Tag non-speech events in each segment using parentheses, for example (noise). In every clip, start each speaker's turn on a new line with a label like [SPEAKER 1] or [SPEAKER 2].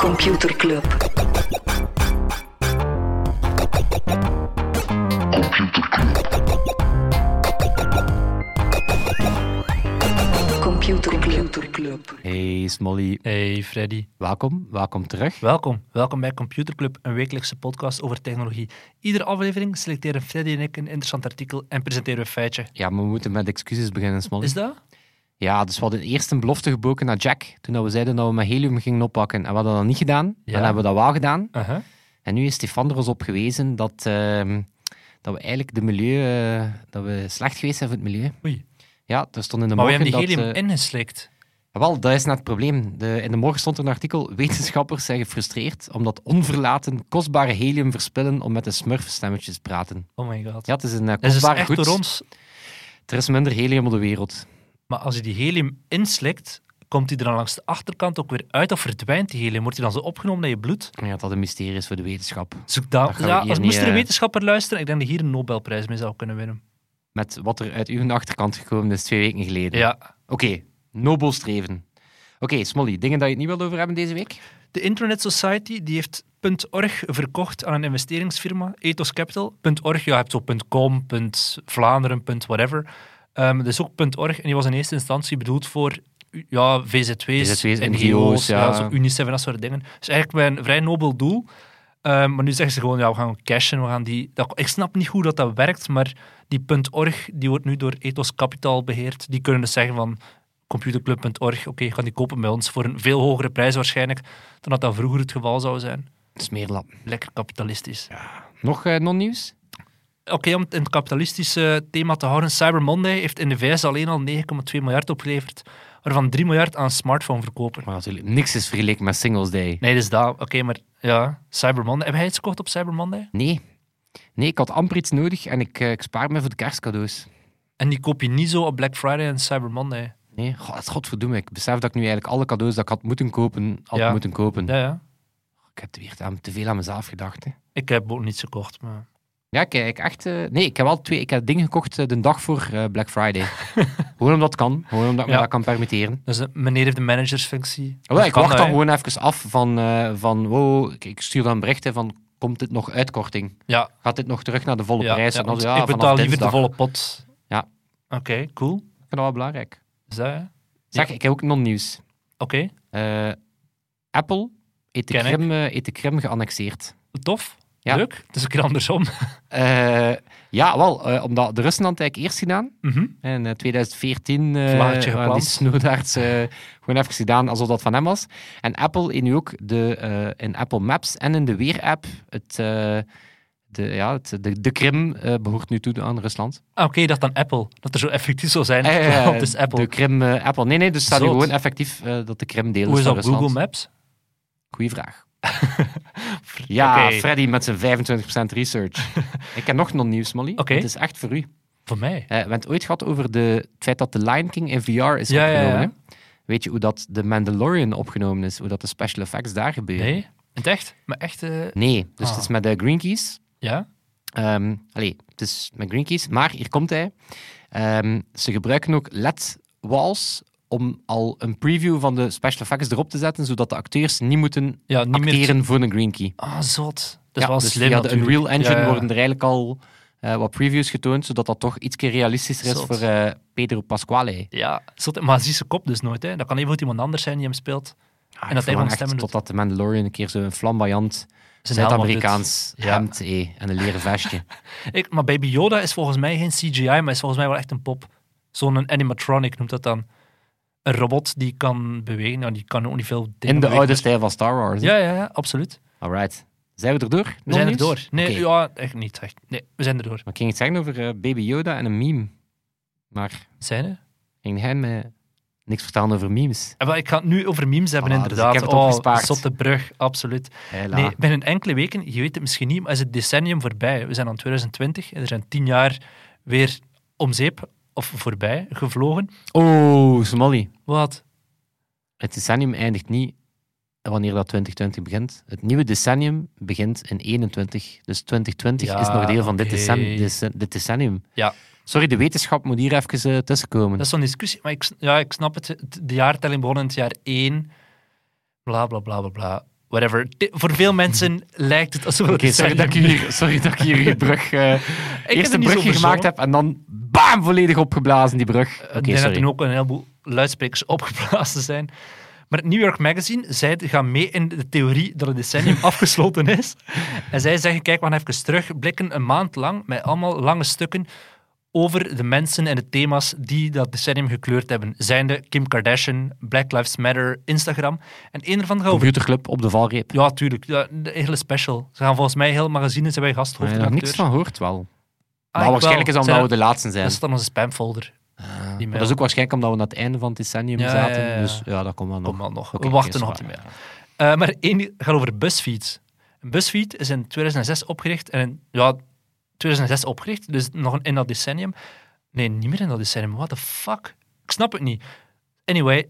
[SPEAKER 1] Computer Club. Computer Club. Computer Club.
[SPEAKER 2] Hey Smolly,
[SPEAKER 3] Hey Freddy,
[SPEAKER 2] welkom, welkom terug.
[SPEAKER 3] welkom. Welkom bij Computer Club, een wekelijkse podcast over technologie. Iedere aflevering selecteren Freddy en ik een interessant artikel en presenteren we een feitje.
[SPEAKER 2] Ja, maar we moeten met excuses beginnen, Smolly.
[SPEAKER 3] Is dat?
[SPEAKER 2] Ja, dus we hadden eerst een belofte geboken naar Jack, toen we zeiden dat we met helium gingen oppakken. En we hadden dat niet gedaan,
[SPEAKER 3] Ja.
[SPEAKER 2] dan hebben we dat wel gedaan.
[SPEAKER 3] Uh-huh.
[SPEAKER 2] En nu is Stefan er ons op gewezen dat, ehm, dat we eigenlijk de milieu, eh, dat we slecht geweest zijn voor het milieu.
[SPEAKER 3] Oei.
[SPEAKER 2] Ja, er stond in de
[SPEAKER 3] Maar we
[SPEAKER 2] morgen
[SPEAKER 3] hebben die
[SPEAKER 2] dat...
[SPEAKER 3] helium
[SPEAKER 2] eh,
[SPEAKER 3] ingeslikt.
[SPEAKER 2] Wel, dat is net het probleem. De, in de morgen stond er een artikel. Wetenschappers zijn gefrustreerd omdat onverlaten kostbare helium verspillen om met de smurfstemmetjes te praten.
[SPEAKER 3] Oh my god.
[SPEAKER 2] Ja, het is een eh,
[SPEAKER 3] dat is dus
[SPEAKER 2] kostbaar
[SPEAKER 3] echt
[SPEAKER 2] goed.
[SPEAKER 3] door ons.
[SPEAKER 2] Er is minder helium op de wereld.
[SPEAKER 3] Maar als je die helium inslikt, komt die er dan langs de achterkant ook weer uit of verdwijnt die helium? Wordt die dan zo opgenomen naar je bloed?
[SPEAKER 2] Ja, dat een mysterie is voor de wetenschap.
[SPEAKER 3] Zoek dat.
[SPEAKER 2] Dat gaan we
[SPEAKER 3] ja,
[SPEAKER 2] hier
[SPEAKER 3] als
[SPEAKER 2] niet,
[SPEAKER 3] moest er een
[SPEAKER 2] eh,
[SPEAKER 3] wetenschapper luisteren, ik denk dat je hier een Nobelprijs mee zou kunnen winnen.
[SPEAKER 2] Met wat er uit uw achterkant gekomen is twee weken geleden.
[SPEAKER 3] Ja.
[SPEAKER 2] Oké, nobel streven. Oké, Smolly, dingen dat je het niet wilt over hebben deze week?
[SPEAKER 3] De Intranet Society die heeft .org verkocht aan een investeringsfirma, Ethos Capital. .org, ja, je hebt zo .com, .vlaanderen, .whatever. Ehm dat is ook .org en die was in eerste instantie bedoeld voor ja, VZW's,
[SPEAKER 2] VZW's,
[SPEAKER 3] NGO's,
[SPEAKER 2] NGO's,
[SPEAKER 3] ja.
[SPEAKER 2] ja.
[SPEAKER 3] zo UNICEF en dat soort dingen. Dus eigenlijk een vrij nobel doel. Ehm, maar nu zeggen ze gewoon, ja, we gaan cashen, we gaan die... Dat, ik snap niet hoe dat, dat werkt, maar die .org die wordt nu door Ethos Capital beheerd. Die kunnen dus zeggen van computerclub.org, oké, je kan die kopen bij ons voor een veel hogere prijs waarschijnlijk dan dat dat vroeger het geval zou zijn.
[SPEAKER 2] Smeerlap.
[SPEAKER 3] Lekker kapitalistisch.
[SPEAKER 2] Nog eh, non-nieuws?
[SPEAKER 3] Oké, om het in het kapitalistische thema te houden, Cyber Monday heeft in de VS alleen al 9,2 miljard opgeleverd, waarvan 3 miljard aan smartphone verkopen.
[SPEAKER 2] Maar natuurlijk, niks is vergeleken met Singles Day.
[SPEAKER 3] Nee, dus dat. Oké, maar ja, Cyber Monday. Heb jij iets gekocht op Cyber Monday?
[SPEAKER 2] Nee. Nee, ik had amper iets nodig en ik, eh, ik spaar me voor de kerstcadeaus.
[SPEAKER 3] En die koop je niet zo op Black Friday en Cyber Monday.
[SPEAKER 2] Nee, God, het is godverdomme. Ik besef dat ik nu eigenlijk alle cadeaus dat ik had moeten kopen, had
[SPEAKER 3] Ja.
[SPEAKER 2] moeten kopen.
[SPEAKER 3] Ja, ja.
[SPEAKER 2] Ik heb weer aan- te veel aan mezelf gedacht. Hè.
[SPEAKER 3] Ik heb ook niets gekocht, maar...
[SPEAKER 2] Ja, kijk, echt... eh, nee, ik heb wel twee... Ik heb dingen gekocht eh, de dag voor eh, Black Friday. (laughs) gewoon omdat het kan. Gewoon omdat ik
[SPEAKER 3] Ja.
[SPEAKER 2] me dat kan permitteren.
[SPEAKER 3] Dus eh, meneer heeft de managersfunctie.
[SPEAKER 2] Alhoewel, Oh, ik
[SPEAKER 3] Dat kan,
[SPEAKER 2] wacht dan
[SPEAKER 3] hè.
[SPEAKER 2] gewoon even af van... eh, van wow, ik, ik stuur dan berichten van... Komt dit nog uitkorting?
[SPEAKER 3] Ja,
[SPEAKER 2] Gaat dit nog terug naar de volle
[SPEAKER 3] ja,
[SPEAKER 2] prijs?
[SPEAKER 3] ja,
[SPEAKER 2] En dan
[SPEAKER 3] want
[SPEAKER 2] zo, ja,
[SPEAKER 3] ik betaal
[SPEAKER 2] vanaf
[SPEAKER 3] liever de
[SPEAKER 2] dinsdag.
[SPEAKER 3] volle pot.
[SPEAKER 2] Ja.
[SPEAKER 3] Oké, cool.
[SPEAKER 2] Ik vind dat wel belangrijk.
[SPEAKER 3] Is dat, hè?
[SPEAKER 2] Zeg, ik heb ook non-nieuws.
[SPEAKER 3] Oké,
[SPEAKER 2] Eh, Apple heeft de,
[SPEAKER 3] Ken ik.
[SPEAKER 2] Krim, eh, heeft de Krim geannexeerd.
[SPEAKER 3] tof.
[SPEAKER 2] Ja.
[SPEAKER 3] Leuk. Het is een keer andersom.
[SPEAKER 2] Eh, ja, wel, eh, omdat de Russen hadden het eigenlijk eerst gedaan.
[SPEAKER 3] Mhm.
[SPEAKER 2] In eh, 2014 eh
[SPEAKER 3] Vlaagje
[SPEAKER 2] waren die
[SPEAKER 3] geplant.
[SPEAKER 2] snoedaards eh, gewoon even gedaan alsof dat van hem was. En Apple in nu ook de, eh, in Apple Maps en in de Weer-app. Het, eh, de, ja, het, de, de Krim eh, behoort nu toe aan Rusland.
[SPEAKER 3] Ah, Oké, dat dan Apple. Dat er zo effectief zou
[SPEAKER 2] (laughs)
[SPEAKER 3] zijn.
[SPEAKER 2] Eh,
[SPEAKER 3] (laughs) want het is dus Apple.
[SPEAKER 2] De Krim, eh, Apple. Nee, nee, dus staat nu
[SPEAKER 3] Zot.
[SPEAKER 2] gewoon effectief eh, dat de Krim deel
[SPEAKER 3] Hoe is
[SPEAKER 2] van
[SPEAKER 3] dat op
[SPEAKER 2] Rusland.
[SPEAKER 3] Google Maps?
[SPEAKER 2] Goeie
[SPEAKER 3] (laughs)
[SPEAKER 2] vraag. ja,
[SPEAKER 3] Oké.
[SPEAKER 2] Freddy met zijn 25%
[SPEAKER 3] (laughs)
[SPEAKER 2] research. Ik heb nog non-nieuws, Molly.
[SPEAKER 3] Oké.
[SPEAKER 2] Het is echt voor u.
[SPEAKER 3] Voor mij.
[SPEAKER 2] Eh, we hebben het ooit gehad over de, het feit dat The Lion King in VR is
[SPEAKER 3] Ja, ja,
[SPEAKER 2] opgenomen.
[SPEAKER 3] ja.
[SPEAKER 2] hè? Weet je hoe dat The Mandalorian opgenomen is? Hoe dat de special effects daar gebeuren?
[SPEAKER 3] Nee? In het echt? Maar echt... eh,
[SPEAKER 2] Nee, dus
[SPEAKER 3] Ah.
[SPEAKER 2] het is met de Green Keys.
[SPEAKER 3] ja?
[SPEAKER 2] Ehm, allee, het is met Green Keys, maar hier komt hij. Ehm, ze gebruiken ook LED-walls om al een preview van de special effects erop te zetten, zodat de acteurs niet moeten
[SPEAKER 3] Ja, niet meer...
[SPEAKER 2] acteren voor een Green Key.
[SPEAKER 3] Ah, zot. Dat is
[SPEAKER 2] Ja,
[SPEAKER 3] wel
[SPEAKER 2] dus
[SPEAKER 3] slim
[SPEAKER 2] via de
[SPEAKER 3] natuurlijk.
[SPEAKER 2] Unreal Engine
[SPEAKER 3] Ja, ja.
[SPEAKER 2] worden er eigenlijk al eh, wat previews getoond, zodat dat toch iets realistischer is
[SPEAKER 3] Zot.
[SPEAKER 2] voor eh, Pedro Pasquale.
[SPEAKER 3] Ja, zot. Maar zie zijn kop dus nooit, hè. Dat kan even goed iemand anders zijn die hem speelt.
[SPEAKER 2] Ah,
[SPEAKER 3] En
[SPEAKER 2] ik
[SPEAKER 3] dat hij
[SPEAKER 2] verlang
[SPEAKER 3] gewoon
[SPEAKER 2] echt
[SPEAKER 3] stemmen doet.
[SPEAKER 2] Totdat de Mandalorian een keer zo'n flamboyant
[SPEAKER 3] Zijn helm op
[SPEAKER 2] Zuid-Amerikaans
[SPEAKER 3] doet. Ja.
[SPEAKER 2] hemd hé, en een leren
[SPEAKER 3] (laughs)
[SPEAKER 2] vestje.
[SPEAKER 3] Ik, maar Baby Yoda is volgens mij geen CGI, maar is volgens mij wel echt een pop. Zo'n animatronic noemt dat dan. Een robot die kan bewegen. Nou, die kan ook niet veel dingen
[SPEAKER 2] In de
[SPEAKER 3] bewegen.
[SPEAKER 2] oude stijl van Star Wars. hè?
[SPEAKER 3] Ja, ja, ja, absoluut.
[SPEAKER 2] Alright. Zijn we er door?
[SPEAKER 3] We zijn er
[SPEAKER 2] Non-nieuws?
[SPEAKER 3] door. Nee,
[SPEAKER 2] Oké.
[SPEAKER 3] ja, echt niet. Echt. Nee, we zijn er door.
[SPEAKER 2] Maar ik ging iets zeggen over eh, Baby Yoda en een meme. Maar
[SPEAKER 3] Zijn er?
[SPEAKER 2] ging hij me niks vertellen over memes?
[SPEAKER 3] Eh, wel, Ik ga het nu over memes hebben,
[SPEAKER 2] Voilà, dus
[SPEAKER 3] inderdaad.
[SPEAKER 2] ik heb het
[SPEAKER 3] oh,
[SPEAKER 2] opgespaard.
[SPEAKER 3] zotte brug, absoluut.
[SPEAKER 2] Hela.
[SPEAKER 3] Nee, binnen enkele weken, je weet het misschien niet, maar is het decennium voorbij. We zijn aan 2020 en er zijn tien jaar weer om zeep of voorbij gevlogen.
[SPEAKER 2] Oh, Smolly.
[SPEAKER 3] Wat?
[SPEAKER 2] Het decennium eindigt niet wanneer dat 2020 begint. Het nieuwe decennium begint in 21. Dus 2020
[SPEAKER 3] Ja,
[SPEAKER 2] is nog deel van dit,
[SPEAKER 3] oké.
[SPEAKER 2] decen- dece- dit decennium.
[SPEAKER 3] Ja.
[SPEAKER 2] Sorry, de wetenschap moet hier even eh, tussenkomen.
[SPEAKER 3] Dat is zo'n discussie. Maar ik, s- ja, ik snap het. Het- De jaartelling begon in het jaar 1. Bla, bla, bla, bla, bla. whatever. Di- voor veel mensen (laughs) lijkt het alsof
[SPEAKER 2] Oké,
[SPEAKER 3] het
[SPEAKER 2] sorry, dat ik hier- sorry dat ik hier die brug.
[SPEAKER 3] (laughs)
[SPEAKER 2] eh eerst
[SPEAKER 3] er
[SPEAKER 2] een
[SPEAKER 3] niet
[SPEAKER 2] brug
[SPEAKER 3] zo
[SPEAKER 2] gemaakt heb en dan BAM! Volledig opgeblazen, die brug. Oké,
[SPEAKER 3] Ik denk dat er nu
[SPEAKER 2] sorry.
[SPEAKER 3] ook Eh, een heleboel luidsprekers (laughs) opgeblazen zijn. Maar het New York Magazine, zij gaan mee in de theorie dat het decennium
[SPEAKER 2] (laughs)
[SPEAKER 3] afgesloten is. En zij zeggen, kijk, we gaan even terugblikken, een maand lang, met allemaal lange stukken over de mensen en de thema's die dat decennium gekleurd hebben. Zijnde Kim Kardashian, Black Lives Matter, Instagram. En een ervan gaat over...
[SPEAKER 2] Computerclub op de valreep.
[SPEAKER 3] Ja, tuurlijk. Ja, de hele special. Ze gaan volgens mij heel magazines hebben
[SPEAKER 2] Daar
[SPEAKER 3] gasthoofd
[SPEAKER 2] heb
[SPEAKER 3] en
[SPEAKER 2] ik Eh, niks
[SPEAKER 3] acteurs.
[SPEAKER 2] van gehoord wel.
[SPEAKER 3] Ah,
[SPEAKER 2] maar
[SPEAKER 3] ik
[SPEAKER 2] waarschijnlijk
[SPEAKER 3] wel.
[SPEAKER 2] is dat
[SPEAKER 3] Zijn
[SPEAKER 2] omdat we
[SPEAKER 3] dat-
[SPEAKER 2] de laatste zijn.
[SPEAKER 3] Dat staat in onze spamfolder.
[SPEAKER 2] Ah,
[SPEAKER 3] die
[SPEAKER 2] maar
[SPEAKER 3] mail.
[SPEAKER 2] dat is ook waarschijnlijk omdat we aan het einde van het decennium
[SPEAKER 3] Ja,
[SPEAKER 2] zaten.
[SPEAKER 3] ja, ja.
[SPEAKER 2] Dus ja, dat komt wel nog.
[SPEAKER 3] Kom wel nog.
[SPEAKER 2] Oké,
[SPEAKER 3] we
[SPEAKER 2] oké,
[SPEAKER 3] wachten nog op
[SPEAKER 2] is
[SPEAKER 3] die
[SPEAKER 2] waar.
[SPEAKER 3] mail. Eh, maar één gaat over BuzzFeed. BuzzFeed is in 2006 opgericht. En in- ja, 2006 opgericht, dus nog een- in dat decennium. Nee, niet meer in dat decennium. What the fuck? Ik snap het niet. Anyway,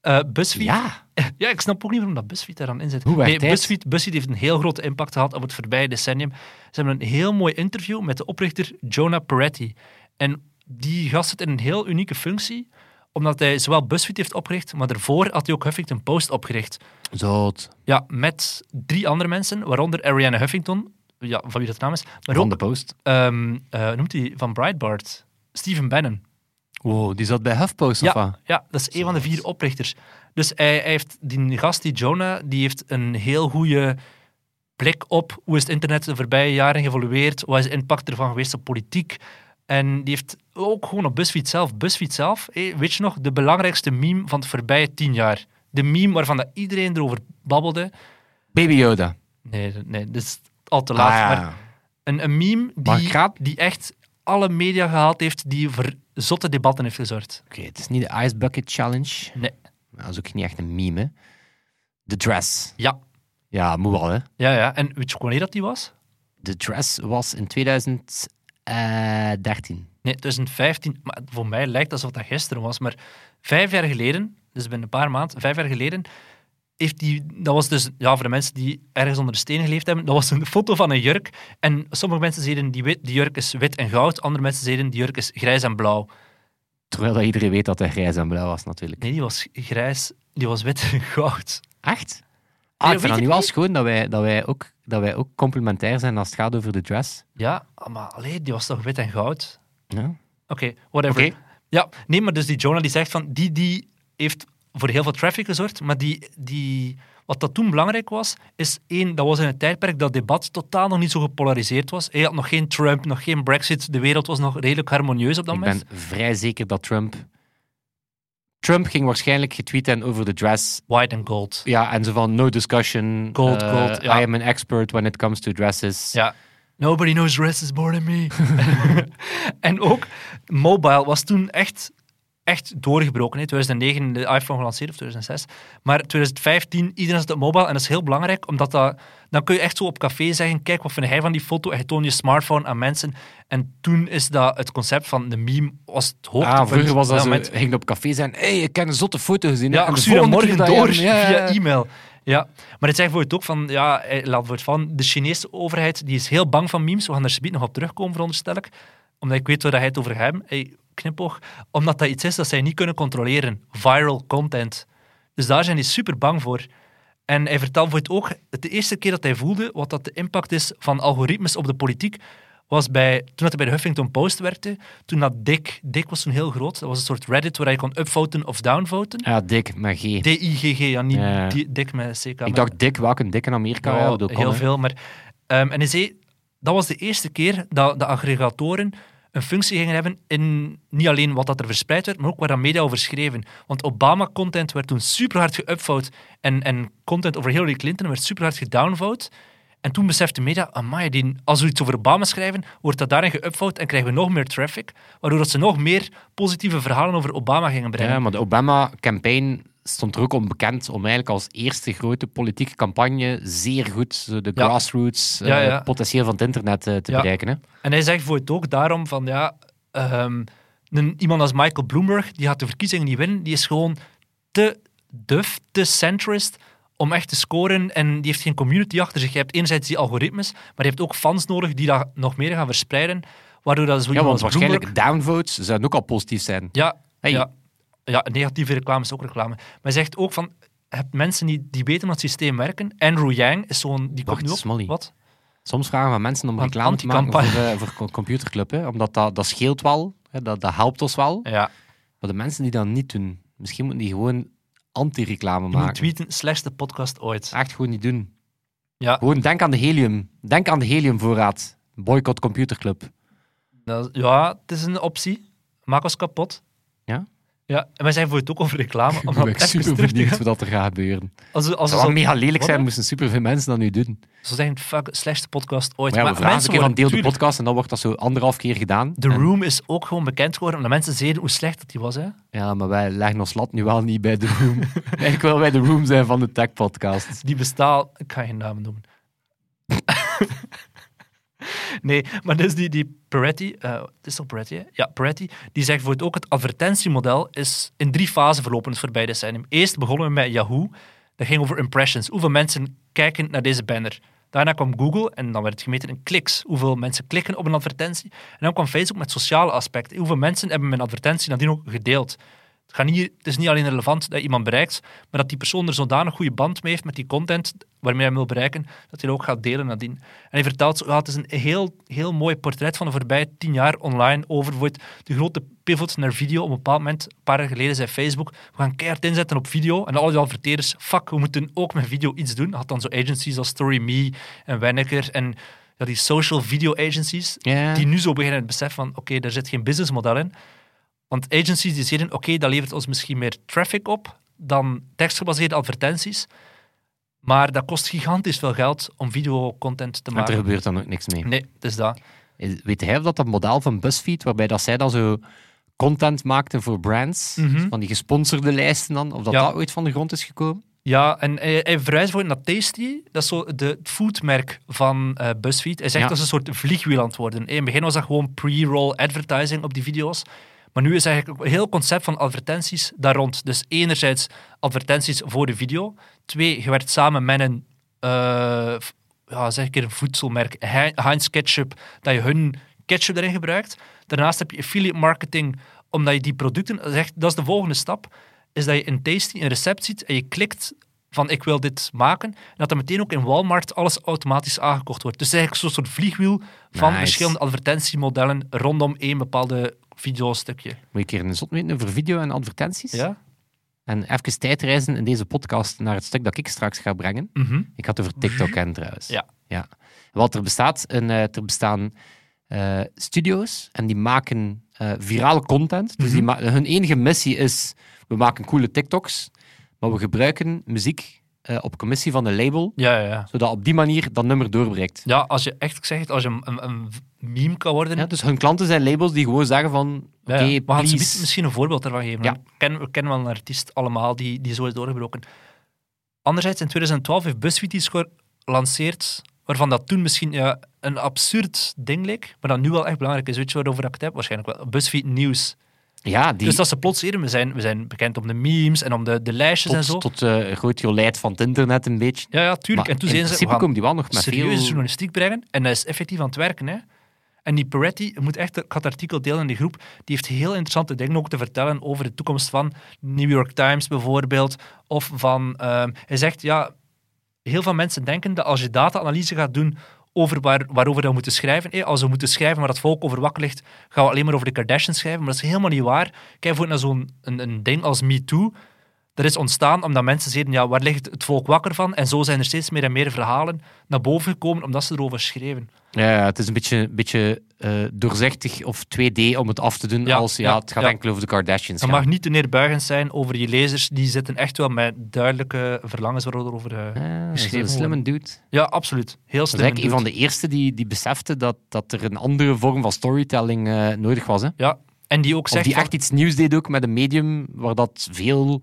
[SPEAKER 3] eh, BuzzFeed...
[SPEAKER 2] Ja,
[SPEAKER 3] Ja, ik snap ook niet waarom dat BuzzFeed daar dan in zit.
[SPEAKER 2] Hoe werkt
[SPEAKER 3] nee,
[SPEAKER 2] dit?
[SPEAKER 3] BuzzFeed, BuzzFeed heeft een heel grote impact gehad op het voorbije decennium. Ze hebben een heel mooi interview met de oprichter Jonah Peretti. En die gast zit in een heel unieke functie, omdat hij zowel BuzzFeed heeft opgericht, maar daarvoor had hij ook Huffington Post opgericht.
[SPEAKER 2] zout.
[SPEAKER 3] Ja, met drie andere mensen, waaronder Ariana Huffington, ja, van wie dat naam is, maar
[SPEAKER 2] Van
[SPEAKER 3] ook,
[SPEAKER 2] de post.
[SPEAKER 3] ehm, eh, hoe noemt hij, van Breitbart, Stephen Bannon.
[SPEAKER 2] Wow, die zat bij HuffPost of wat?
[SPEAKER 3] Ja, ja, dat is een van de vier oprichters. Dus hij, hij heeft, die gast, die Jonah, die heeft een heel goede blik op hoe is het internet de voorbije jaren geëvolueerd, wat is de impact ervan geweest op politiek. En die heeft ook gewoon op BuzzFeed zelf, BuzzFeed zelf, hé, weet je nog, de belangrijkste meme van het voorbije tien jaar. De meme waarvan dat iedereen erover babbelde.
[SPEAKER 2] Baby Yoda.
[SPEAKER 3] Nee, nee, dat is al te laat.
[SPEAKER 2] Ah, ja.
[SPEAKER 3] maar een, een meme
[SPEAKER 2] Maar ik
[SPEAKER 3] die,
[SPEAKER 2] ga-
[SPEAKER 3] die echt alle media gehaald heeft, die voor zotte debatten heeft gezorgd.
[SPEAKER 2] Oké, het is niet de Ice Bucket Challenge.
[SPEAKER 3] Nee.
[SPEAKER 2] Nou, dat is ook niet echt een meme, hè. De dress.
[SPEAKER 3] Ja,
[SPEAKER 2] Ja, moet wel, hè.
[SPEAKER 3] ja, ja. En weet je ook wanneer dat die was?
[SPEAKER 2] De dress was in eh, 2013.
[SPEAKER 3] Nee, 2015. Maar voor mij lijkt alsof dat gisteren was. Maar vijf jaar geleden, dus binnen een paar maanden, vijf jaar geleden, heeft die. Dat was dus, ja, voor de mensen die ergens onder de steen geleefd hebben, dat was een foto van een jurk. En sommige mensen zeiden die, wit- die jurk is wit en goud, andere mensen zeiden die jurk is grijs en blauw.
[SPEAKER 2] Terwijl dat iedereen weet dat hij grijs en blauw was, natuurlijk.
[SPEAKER 3] Nee, die was grijs, die was wit en goud.
[SPEAKER 2] Echt?
[SPEAKER 3] Nee,
[SPEAKER 2] Ah, ik
[SPEAKER 3] weet
[SPEAKER 2] vind dat
[SPEAKER 3] ik
[SPEAKER 2] nu wel
[SPEAKER 3] niet.
[SPEAKER 2] schoon dat wij, dat, wij ook, dat wij ook complementair zijn als het gaat over de dress.
[SPEAKER 3] Ja, maar alleen, die was toch wit en goud?
[SPEAKER 2] Ja.
[SPEAKER 3] Oké, whatever.
[SPEAKER 2] Oké.
[SPEAKER 3] Ja, nee, maar dus die Jonah die zegt van, die, die heeft voor heel veel traffic gezorgd, maar die, die, wat dat toen belangrijk was, is één, dat was in het tijdperk dat debat totaal nog niet zo gepolariseerd was. Je had nog geen Trump, nog geen Brexit, de wereld was nog redelijk harmonieus op dat
[SPEAKER 2] Ik
[SPEAKER 3] moment.
[SPEAKER 2] ben vrij zeker dat Trump... Trump ging waarschijnlijk getweet hebben over de dress.
[SPEAKER 3] White and gold.
[SPEAKER 2] Ja, en zo van no discussion.
[SPEAKER 3] Gold,
[SPEAKER 2] eh,
[SPEAKER 3] gold, ja.
[SPEAKER 2] I am an expert when it comes to dresses.
[SPEAKER 3] Ja. Nobody knows dresses more than me. (laughs) en ook, mobile was toen echt, echt doorgebroken. hè. 2009 de iPhone gelanceerd, of 2006. Maar 2015, iedereen zat op mobile. En dat is heel belangrijk, omdat dat, dan kun je echt zo op café zeggen, kijk, wat vind jij van die foto? En je toont je smartphone aan mensen. En toen is dat het concept van de meme was het hoogtepunt.
[SPEAKER 2] Ah, vroeger was dat
[SPEAKER 3] Op
[SPEAKER 2] zo,
[SPEAKER 3] moment-
[SPEAKER 2] ging op café zijn. Hé, hey, ik heb een zotte foto gezien. hè.
[SPEAKER 3] ja,
[SPEAKER 2] En
[SPEAKER 3] ik
[SPEAKER 2] de
[SPEAKER 3] stuur dat
[SPEAKER 2] volgende
[SPEAKER 3] morgen
[SPEAKER 2] keer dat
[SPEAKER 3] door
[SPEAKER 2] je hem- ja, ja,
[SPEAKER 3] via
[SPEAKER 2] ja.
[SPEAKER 3] e-mail. Ja, maar het zegt bijvoorbeeld ook van, ja, eh, laat wordt van, de Chinese overheid die is heel bang van memes. We gaan daar subiet nog op terugkomen, veronderstel ik. Omdat ik weet waar hij het over hebt. Hey, knipoog. Omdat dat iets is dat zij niet kunnen controleren. Viral content. Dus daar zijn die super bang voor. En hij vertelt voor het ook, het de eerste keer dat hij voelde wat dat de impact is van algoritmes op de politiek, was bij, toen dat hij bij de Huffington Post werkte, toen dat Dick, Dick was toen heel groot, dat was een soort Reddit waar je kon upvoten of downvoten.
[SPEAKER 2] Ja, dik, maar G.
[SPEAKER 3] D-I-G-G, ja, niet
[SPEAKER 2] Ja, ja.
[SPEAKER 3] di- dik met CK.
[SPEAKER 2] Ik dacht dik, welke dik in Amerika? Ja, dat kon,
[SPEAKER 3] heel
[SPEAKER 2] hè.
[SPEAKER 3] veel. Maar, ehm, en hij zei, dat was de eerste keer dat de aggregatoren een functie gingen hebben in niet alleen wat dat er verspreid werd, maar ook waar dat media over schreven. Want Obama-content werd toen super hard geupvote en, en content over Hillary Clinton werd super hard gedownvote. En toen besefte media, amai, die, als we iets over Obama schrijven, wordt dat daarin geupvote en krijgen we nog meer traffic, waardoor dat ze nog meer positieve verhalen over Obama gingen brengen.
[SPEAKER 2] Ja, maar de Obama-campaign stond er ook onbekend om eigenlijk als eerste grote politieke campagne zeer goed zo de
[SPEAKER 3] Ja.
[SPEAKER 2] grassroots eh,
[SPEAKER 3] Ja, ja.
[SPEAKER 2] potentieel van het internet eh, te
[SPEAKER 3] Ja.
[SPEAKER 2] bereiken. Hè?
[SPEAKER 3] En hij zegt voor het ook daarom van ja, ehm, een, iemand als Michael Bloomberg, die gaat de verkiezingen niet winnen, die is gewoon te duf, te centrist om echt te scoren en die heeft geen community achter zich. Je hebt enerzijds die algoritmes, maar je hebt ook fans nodig die dat nog meer gaan verspreiden, waardoor dat zo
[SPEAKER 2] Ja,
[SPEAKER 3] iemand
[SPEAKER 2] want
[SPEAKER 3] als
[SPEAKER 2] waarschijnlijk
[SPEAKER 3] Bloomberg-
[SPEAKER 2] downvotes zouden ook al positief zijn.
[SPEAKER 3] Ja,
[SPEAKER 2] Hey.
[SPEAKER 3] ja, ja, negatieve reclame is ook reclame. Maar hij zegt ook van, hebt mensen die, die weten hoe het systeem werken. Andrew Yang is zo'n... Die komt
[SPEAKER 2] Wacht,
[SPEAKER 3] nu op.
[SPEAKER 2] Smolly.
[SPEAKER 3] Wat?
[SPEAKER 2] Soms vragen we mensen om
[SPEAKER 3] Een
[SPEAKER 2] reclame te maken voor,
[SPEAKER 3] anticampagne.
[SPEAKER 2] eh, voor co- computerclub. Hè? Omdat dat, dat scheelt wel. Hè? Dat, dat helpt ons wel.
[SPEAKER 3] Ja.
[SPEAKER 2] Maar de mensen die dat niet doen, misschien moeten die gewoon anti-reclame
[SPEAKER 3] Je moet
[SPEAKER 2] maken.
[SPEAKER 3] tweeten, slechtste podcast ooit.
[SPEAKER 2] Echt gewoon niet doen.
[SPEAKER 3] Ja.
[SPEAKER 2] Gewoon denk aan de helium. Denk aan de heliumvoorraad. Boycott computerclub.
[SPEAKER 3] Dat- ja, het is een optie. Maak ons kapot.
[SPEAKER 2] Ja?
[SPEAKER 3] Ja, en wij zijn voor het ook over reclame. Om dat even terug te gaan.
[SPEAKER 2] wat er gaat gebeuren.
[SPEAKER 3] Als, we- als
[SPEAKER 2] Het
[SPEAKER 3] we
[SPEAKER 2] zou
[SPEAKER 3] zo,
[SPEAKER 2] mega lelijk
[SPEAKER 3] Wat
[SPEAKER 2] zijn,
[SPEAKER 3] dan?
[SPEAKER 2] moesten superveel mensen dat nu doen.
[SPEAKER 3] zo zeggen, fuck, slechtste podcast ooit.
[SPEAKER 2] Maar ja, we vragen een
[SPEAKER 3] mensen
[SPEAKER 2] keer van
[SPEAKER 3] worden-
[SPEAKER 2] deel de
[SPEAKER 3] tuurlijk,
[SPEAKER 2] podcast en dan wordt dat zo anderhalf keer gedaan.
[SPEAKER 3] The
[SPEAKER 2] En-
[SPEAKER 3] Room is ook gewoon bekend geworden omdat mensen zeiden hoe slecht dat die was. Hè?
[SPEAKER 2] Ja, maar wij leggen ons lat nu wel niet bij de
[SPEAKER 3] (laughs)
[SPEAKER 2] room. Eigenlijk wel bij de room zijn van de tech podcast.
[SPEAKER 3] Die bestaat... Ik ga geen namen noemen. (laughs) nee, maar dus die, die Peretti... eh, het is toch Peretti, hè? Ja, Peretti. Die zegt voor het ook, het advertentiemodel is in drie fasen verlopen het voorbije decennium. Eerst begonnen we met Yahoo. Dat ging over impressions. Hoeveel mensen kijken naar deze banner. Daarna kwam Google en dan werd het gemeten in kliks. Hoeveel mensen klikken op een advertentie. En dan kwam Facebook met sociale aspecten. Hoeveel mensen hebben mijn advertentie nadien ook gedeeld. Het, gaat niet, het is niet alleen relevant dat je iemand bereikt, maar dat die persoon er zodanig goede band mee heeft met die content waarmee hij hem wil bereiken, dat hij dat ook gaat delen nadien. En hij vertelt, zo, ja, het is een heel, heel mooi portret van de voorbije tien jaar online over bijvoorbeeld de grote pivot naar video. Op een bepaald moment, een paar jaar geleden, zei Facebook, we gaan keihard inzetten op video. En al die adverteerders, fuck, we moeten ook met video iets doen. Had dan zo agencies als StoryMe en Wenneker en ja, die social video agencies,
[SPEAKER 2] Ja.
[SPEAKER 3] die nu zo beginnen het besef van, oké, daar zit geen businessmodel in. Want agencies die zeiden, oké, dat levert ons misschien meer traffic op dan tekstgebaseerde advertenties. Maar dat kost gigantisch veel geld om videocontent te
[SPEAKER 2] Maar er
[SPEAKER 3] maken.
[SPEAKER 2] gebeurt dan ook niks mee.
[SPEAKER 3] Nee, het is dat.
[SPEAKER 2] Is- Weet hij of dat dat model van BuzzFeed, waarbij dat zij dan zo content maakten voor brands,
[SPEAKER 3] Mhm.
[SPEAKER 2] van die gesponsorde lijsten dan, of dat
[SPEAKER 3] Ja.
[SPEAKER 2] dat ooit van de grond is gekomen?
[SPEAKER 3] Ja, en hij, hij verwijst voor naar Tasty. Dat is zo de, het foodmerk van eh, BuzzFeed. Hij zegt
[SPEAKER 2] Ja.
[SPEAKER 3] dat ze een soort vliegwiel aan het worden. In het begin was dat gewoon pre-roll advertising op die video's. Maar nu is eigenlijk ook een heel concept van advertenties daar rond. Dus enerzijds advertenties voor de video. Twee, je werkt samen met een, eh, f- ja, zeg ik een voedselmerk, Hein- Heinz Ketchup, dat je hun ketchup erin gebruikt. Daarnaast heb je affiliate marketing, omdat je die producten... Dat is, echt- dat is de volgende stap, is dat je in Tasty een recept ziet en je klikt van ik wil dit maken, en dat dan meteen ook in Walmart alles automatisch aangekocht wordt. Dus het is eigenlijk zo'n soort vliegwiel van
[SPEAKER 2] Nice.
[SPEAKER 3] verschillende advertentiemodellen rondom één bepaalde videostukje.
[SPEAKER 2] Moet je een keer een zot meten over video en advertenties?
[SPEAKER 3] Ja?
[SPEAKER 2] En even tijdreizen in deze podcast naar het stuk dat ik straks ga brengen.
[SPEAKER 3] Mhm.
[SPEAKER 2] Ik had het over TikTok en trouwens.
[SPEAKER 3] Ja.
[SPEAKER 2] ja. Wat er bestaat, een, eh, er bestaan eh, studio's en die maken eh, virale content. Dus die
[SPEAKER 3] Mhm.
[SPEAKER 2] ma- hun enige missie is, we maken coole TikToks, maar we gebruiken muziek eh, op commissie van een label,
[SPEAKER 3] Ja, ja, ja.
[SPEAKER 2] zodat op die manier dat nummer doorbreekt.
[SPEAKER 3] Ja, als je echt, ik zeg het, als je een, een, een meme kan worden...
[SPEAKER 2] Ja, dus hun klanten zijn labels die gewoon zeggen van, oké,
[SPEAKER 3] Ja, ja. we gaan
[SPEAKER 2] please.
[SPEAKER 3] zometeen misschien een voorbeeld daarvan geven.
[SPEAKER 2] Ja.
[SPEAKER 3] We, kennen, we kennen wel een artiest allemaal die, die zo is doorgebroken. Anderzijds, in 2012 heeft BuzzFeed iets gelanceerd waarvan dat toen misschien ja, een absurd ding leek, maar dat nu wel echt belangrijk is. Weet je waarover dat ik het heb? Waarschijnlijk wel. BuzzFeed Nieuws.
[SPEAKER 2] Ja, die
[SPEAKER 3] Dus dat ze plots eerder, we zijn, we zijn bekend om de memes en om de, de lijstjes en zo.
[SPEAKER 2] tot, tot eh, groot jolijt van het internet een beetje.
[SPEAKER 3] Ja, ja, tuurlijk.
[SPEAKER 2] Maar
[SPEAKER 3] en toen
[SPEAKER 2] in
[SPEAKER 3] zijn ze,
[SPEAKER 2] principe
[SPEAKER 3] we gaan
[SPEAKER 2] komen die wel nog met
[SPEAKER 3] serieuze
[SPEAKER 2] veel...
[SPEAKER 3] journalistiek brengen. En dat is effectief aan het werken. Hè? En die Peretti, je moet echt, ik had het artikel delen in die groep, die heeft heel interessante dingen ook te vertellen over de toekomst van New York Times bijvoorbeeld. Of van, ehm, hij zegt, ja, heel veel mensen denken dat als je data-analyse gaat doen over waar, waarover we moeten schrijven, eh, als we moeten schrijven waar het volk over wakker ligt, gaan we alleen maar over de Kardashians schrijven. Maar dat is helemaal niet waar. Kijk bijvoorbeeld naar zo'n een, een ding als MeToo. Dat is ontstaan omdat mensen zeiden, ja, waar ligt het volk wakker van? En zo zijn er steeds meer en meer verhalen naar boven gekomen omdat ze erover schreven.
[SPEAKER 2] Ja, ja, het is een beetje, beetje eh, doorzichtig of 2D om het af te doen
[SPEAKER 3] Ja,
[SPEAKER 2] als ja,
[SPEAKER 3] ja,
[SPEAKER 2] het gaat
[SPEAKER 3] ja.
[SPEAKER 2] enkel over de Kardashians.
[SPEAKER 3] Je
[SPEAKER 2] gaan.
[SPEAKER 3] mag niet te neerbuigend zijn over je lezers. Die zitten echt wel met duidelijke verlangens waarover... eh
[SPEAKER 2] Ah, dat is
[SPEAKER 3] geschreven
[SPEAKER 2] een slimme dude. Dat
[SPEAKER 3] ja, absoluut. Heel
[SPEAKER 2] is
[SPEAKER 3] slim.
[SPEAKER 2] eigenlijk een
[SPEAKER 3] en
[SPEAKER 2] van de eerste die, die besefte dat, dat er een andere vorm van storytelling eh, nodig was. Hè?
[SPEAKER 3] doet. Ja, en die ook
[SPEAKER 2] Of
[SPEAKER 3] zegt...
[SPEAKER 2] die
[SPEAKER 3] van-
[SPEAKER 2] echt iets nieuws deed ook met een medium waar dat veel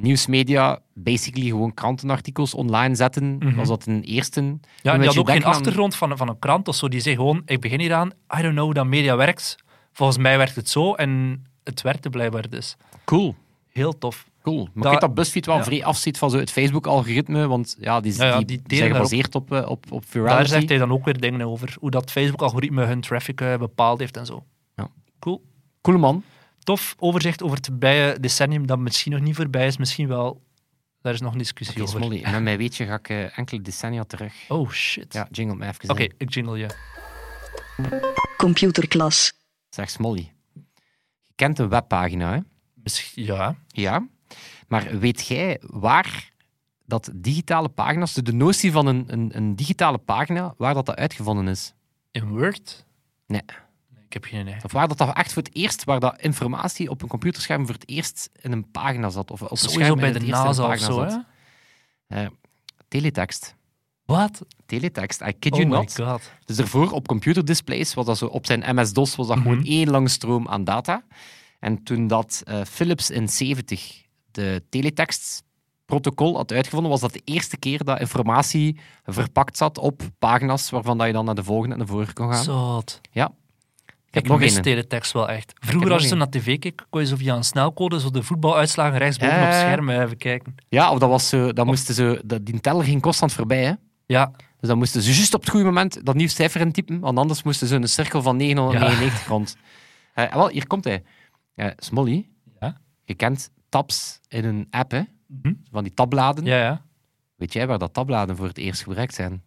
[SPEAKER 2] nieuwsmedia basically gewoon krantenartikels online zetten.
[SPEAKER 3] Mhm.
[SPEAKER 2] Was dat een eerste?
[SPEAKER 3] Ja,
[SPEAKER 2] Een
[SPEAKER 3] en die had
[SPEAKER 2] beetje
[SPEAKER 3] ook geen
[SPEAKER 2] denken aan-
[SPEAKER 3] achtergrond van, van een krant of zo. Die zei gewoon, ik begin hieraan, I don't know hoe dat media werkt. Volgens mij werkt het zo en het werkte blijkbaar dus.
[SPEAKER 2] Cool.
[SPEAKER 3] Heel tof.
[SPEAKER 2] Cool. Maar ik
[SPEAKER 3] Dat-
[SPEAKER 2] weet dat BuzzFeed wel
[SPEAKER 3] ja.
[SPEAKER 2] vrij afziet van zo het Facebook-algoritme, want ja, die,
[SPEAKER 3] Ja, ja,
[SPEAKER 2] die,
[SPEAKER 3] die delen
[SPEAKER 2] zijn
[SPEAKER 3] daarop.
[SPEAKER 2] gebaseerd op, eh, op, op
[SPEAKER 3] Daar
[SPEAKER 2] virality.
[SPEAKER 3] zegt hij dan ook weer dingen over. Hoe dat Facebook-algoritme hun traffic eh, bepaald heeft en zo.
[SPEAKER 2] Ja.
[SPEAKER 3] Cool.
[SPEAKER 2] Coole man.
[SPEAKER 3] Tof overzicht over het voorbije decennium dat misschien nog niet voorbij is. Misschien wel. Daar is nog een discussie
[SPEAKER 2] Oké,
[SPEAKER 3] over.
[SPEAKER 2] Smolly, met mijn weetje ga ik eh, enkele decennia terug.
[SPEAKER 3] Oh shit.
[SPEAKER 2] Ja, jingle me even
[SPEAKER 3] Oké,
[SPEAKER 2] in.
[SPEAKER 3] ik jingle je.
[SPEAKER 1] computerklas,
[SPEAKER 2] Zeg Smolly. Je kent de webpagina, hè?
[SPEAKER 3] Misschien- Ja.
[SPEAKER 2] Ja. Maar weet jij waar dat digitale pagina's, de- de notie van een, een, een digitale pagina, waar dat, dat uitgevonden is?
[SPEAKER 3] In Word?
[SPEAKER 2] Nee.
[SPEAKER 3] Nee, Ik heb geen idee.
[SPEAKER 2] Of waar dat, dat echt voor het eerst, waar dat informatie op een computerscherm voor het eerst in een pagina zat? Of op een scherm
[SPEAKER 3] Sowieso
[SPEAKER 2] in
[SPEAKER 3] bij
[SPEAKER 2] het
[SPEAKER 3] de
[SPEAKER 2] eerst in een
[SPEAKER 3] NASA of
[SPEAKER 2] pagina
[SPEAKER 3] zo,
[SPEAKER 2] zat?
[SPEAKER 3] hè?
[SPEAKER 2] Teletext.
[SPEAKER 3] Wat?
[SPEAKER 2] Teletext, I kid
[SPEAKER 3] Oh
[SPEAKER 2] you
[SPEAKER 3] my
[SPEAKER 2] not.
[SPEAKER 3] god.
[SPEAKER 2] Dus daarvoor op computerdisplays was dat zo, op zijn MS-DOS was dat gewoon
[SPEAKER 3] Mhm.
[SPEAKER 2] één lange stroom aan data. En toen dat eh, Philips in 70 de teletext-protocol had uitgevonden, was dat de eerste keer dat informatie verpakt zat op pagina's waarvan dat je dan naar de volgende en de vorige kon gaan.
[SPEAKER 3] Zot.
[SPEAKER 2] Ja. Ik heb
[SPEAKER 3] Ik
[SPEAKER 2] nog
[SPEAKER 3] mis
[SPEAKER 2] één.
[SPEAKER 3] teletext wel echt.
[SPEAKER 2] heb
[SPEAKER 3] Vroeger
[SPEAKER 2] nog
[SPEAKER 3] als je zo naar tv keek, kon je zo via een snelcode zo de voetbaluitslagen rechtsboven op
[SPEAKER 2] Eh.
[SPEAKER 3] het scherm eh, even kijken.
[SPEAKER 2] Ja, of dat was zo, dat moesten ze, dat, die teller ging constant voorbij, hè.
[SPEAKER 3] Ja,
[SPEAKER 2] Dus dan moesten ze juist op het goede moment dat nieuw cijfer intypen, want anders moesten ze een cirkel van 999 rond. Eh, wel, hier komt hij. Eh, Smolly,
[SPEAKER 3] Ja?
[SPEAKER 2] je kent tabs in een app, hè?
[SPEAKER 3] Mhm.
[SPEAKER 2] Van die tabbladen.
[SPEAKER 3] ja, ja.
[SPEAKER 2] Weet jij waar dat tabbladen voor het eerst gebruikt zijn?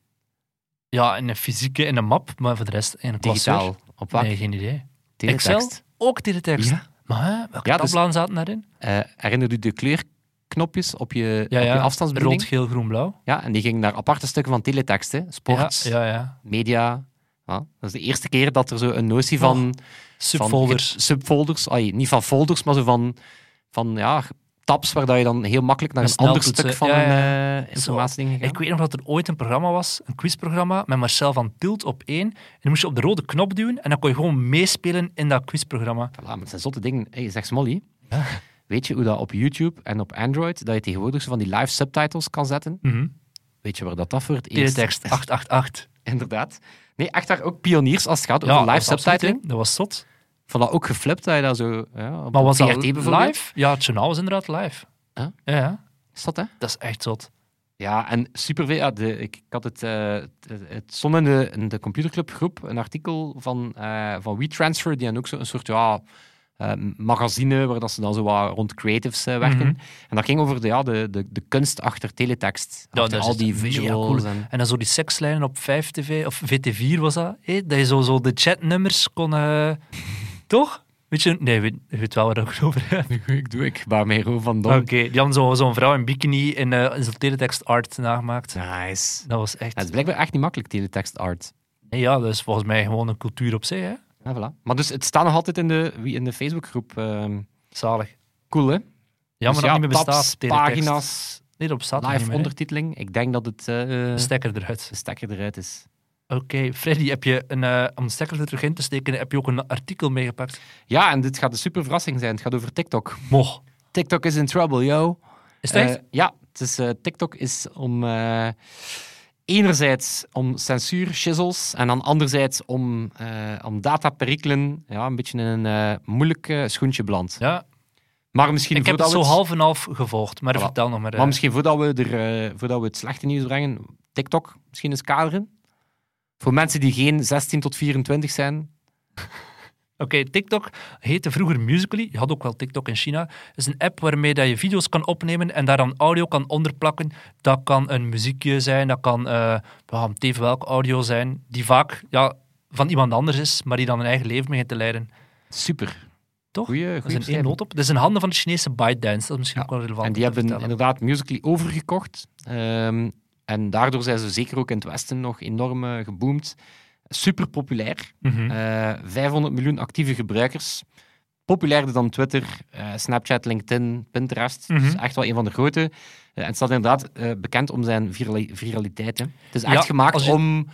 [SPEAKER 3] Ja, in een fysieke, in een map, maar voor de rest in een
[SPEAKER 2] Digitaal. Op wat?
[SPEAKER 3] Nee, geen idee.
[SPEAKER 2] Teletext.
[SPEAKER 3] Excel? Ook teletext.
[SPEAKER 2] Ja.
[SPEAKER 3] Maar hè, welke
[SPEAKER 2] Ja, dus-
[SPEAKER 3] tabbladen zaten daarin?
[SPEAKER 2] Eh, herinner je de kleurknopjes op je,
[SPEAKER 3] Ja,
[SPEAKER 2] op je
[SPEAKER 3] ja.
[SPEAKER 2] afstandsbediening?
[SPEAKER 3] Rood, geel, groen, blauw.
[SPEAKER 2] Ja, en die gingen naar aparte stukken van teletext, hè?
[SPEAKER 3] Ja,
[SPEAKER 2] Sport,
[SPEAKER 3] ja, ja.
[SPEAKER 2] media. Ja, dat is de eerste keer dat er zo een notie
[SPEAKER 3] Oh.
[SPEAKER 2] van...
[SPEAKER 3] Subfolders.
[SPEAKER 2] Van, ge- subfolders. Ai, niet van folders, maar zo van, van ja, tabs waar dat je dan heel makkelijk naar
[SPEAKER 3] Een
[SPEAKER 2] een ander
[SPEAKER 3] sneltoetsen,
[SPEAKER 2] stuk van
[SPEAKER 3] ja,
[SPEAKER 2] een
[SPEAKER 3] ja.
[SPEAKER 2] eh, informatie ging.
[SPEAKER 3] Ik weet nog dat er ooit een programma was, een quizprogramma, met Marcel van Tilt op één. En dan moest je op de rode knop duwen en dan kon je gewoon meespelen in dat quizprogramma.
[SPEAKER 2] Voilà, maar het zijn zotte dingen. Hey, zeg Smolly, weet je hoe dat op YouTube en op Android, dat je tegenwoordig zo van die live subtitles kan zetten?
[SPEAKER 3] Mhm.
[SPEAKER 2] Weet je waar dat dat voor het eerst...
[SPEAKER 3] Teletext 888.
[SPEAKER 2] (laughs) Inderdaad. Nee, echt daar ook pioniers als het gaat
[SPEAKER 3] Ja,
[SPEAKER 2] over live
[SPEAKER 3] dat was absoluut,
[SPEAKER 2] subtitling.
[SPEAKER 3] hè. Dat was zot.
[SPEAKER 2] Vond dat ook geflipt dat je dat zo... Ja, op
[SPEAKER 3] Maar was dat
[SPEAKER 2] TRT bijvoorbeeld.
[SPEAKER 3] live? Ja, het journaal was inderdaad live.
[SPEAKER 2] Huh?
[SPEAKER 3] Ja, ja.
[SPEAKER 2] Is dat, hè?
[SPEAKER 3] Dat is echt zot.
[SPEAKER 2] Ja, en superveel. Ja, de, ik, ik had het, eh het, het stond in de, in de computerclubgroep een artikel van, eh van WeTransfer, die hebben ook zo'n soort ja, eh, magazine waar dat ze dan zo wat rond creatives eh, werken.
[SPEAKER 3] Mhm.
[SPEAKER 2] En dat ging over de, ja, de, de, de kunst achter teletext.
[SPEAKER 3] Ja,
[SPEAKER 2] achter
[SPEAKER 3] dat
[SPEAKER 2] al
[SPEAKER 3] is
[SPEAKER 2] die
[SPEAKER 3] echt mega
[SPEAKER 2] visuals.
[SPEAKER 3] cool.
[SPEAKER 2] En,
[SPEAKER 3] En dan zo die sekslijnen op 5TV, of VT4 was dat, hè? dat je zo, zo de chatnummers kon... eh, (laughs) toch? Weet je, nee, weet, je weet wel waar ik het over heb.
[SPEAKER 2] (laughs) ik doe ik, waar meer van
[SPEAKER 3] Oké, die hadden zo- zo'n vrouw in bikini in, eh in zo'n teletext art nagemaakt.
[SPEAKER 2] Nice.
[SPEAKER 3] Dat was echt...
[SPEAKER 2] Ja, het is blijkbaar echt niet makkelijk, teletext art.
[SPEAKER 3] Nee, ja, dat is volgens mij gewoon een cultuur op zich, hè.
[SPEAKER 2] Ja, voilà. Maar dus het staat nog altijd in de, wie- in de Facebookgroep. ehm.
[SPEAKER 3] Zalig.
[SPEAKER 2] cool, hè?
[SPEAKER 3] Jammer
[SPEAKER 2] Dus ja,
[SPEAKER 3] dat het niet meer
[SPEAKER 2] tabs,
[SPEAKER 3] bestaat, teletext.
[SPEAKER 2] pagina's,
[SPEAKER 3] Nee, dat bestaat nog niet
[SPEAKER 2] live
[SPEAKER 3] meer, hè. Dus
[SPEAKER 2] ondertiteling. Ik denk dat het... eh,
[SPEAKER 3] De stekker eruit.
[SPEAKER 2] de stekker eruit is.
[SPEAKER 3] Oké, Freddy, heb je een, eh, om de stekker er terug in te steken, heb je ook een artikel meegepakt?
[SPEAKER 2] Ja, en dit gaat een super verrassing zijn. Het gaat over TikTok.
[SPEAKER 3] Moch.
[SPEAKER 2] TikTok is in trouble, yo.
[SPEAKER 3] Is het echt?
[SPEAKER 2] Eh, ja, het is, eh, TikTok is om... eh, enerzijds om censuur, shizzles, en dan anderzijds om, eh om dataperikelen. Ja, een beetje in een eh, moeilijk eh, schoentje beland.
[SPEAKER 3] ja,
[SPEAKER 2] Maar misschien
[SPEAKER 3] ik heb
[SPEAKER 2] voordat
[SPEAKER 3] het zo
[SPEAKER 2] we
[SPEAKER 3] half en half gevolgd, maar
[SPEAKER 2] Voilà.
[SPEAKER 3] vertel nog maar. eh.
[SPEAKER 2] Maar misschien voordat we, er, eh, voordat we het slechte nieuws brengen, TikTok misschien eens kaderen. Voor mensen die geen 16 tot 24 zijn.
[SPEAKER 3] Oké, TikTok heette vroeger Musical.ly. Je had ook wel TikTok in China. Het is een app waarmee dat je video's kan opnemen en daar dan audio kan onderplakken. Dat kan een muziekje zijn, dat kan eh ja, teven welk audio zijn, die vaak ja, van iemand anders is, maar die dan een eigen leven mee te leiden.
[SPEAKER 2] Super.
[SPEAKER 3] Toch?
[SPEAKER 2] Goeie,
[SPEAKER 3] Dat is
[SPEAKER 2] goeie
[SPEAKER 3] een één noot op. Dat is in handen van de Chinese ByteDance. Dat is misschien ook wel relevant.
[SPEAKER 2] En
[SPEAKER 3] om
[SPEAKER 2] die
[SPEAKER 3] te
[SPEAKER 2] hebben
[SPEAKER 3] vertellen.
[SPEAKER 2] inderdaad Musical.ly overgekocht. Ehm, en daardoor zijn ze zeker ook in het Westen nog enorm eh, geboomd. Super populair.
[SPEAKER 3] Mhm.
[SPEAKER 2] Eh, 500 miljoen actieve gebruikers. Populairder dan Twitter, eh, Snapchat, LinkedIn, Pinterest.
[SPEAKER 3] Mhm.
[SPEAKER 2] Dus echt wel een van de grote. Eh, en het staat inderdaad eh, bekend om zijn virali- viraliteit. Hè. Het is echt
[SPEAKER 3] Ja,
[SPEAKER 2] gemaakt
[SPEAKER 3] als je-
[SPEAKER 2] om...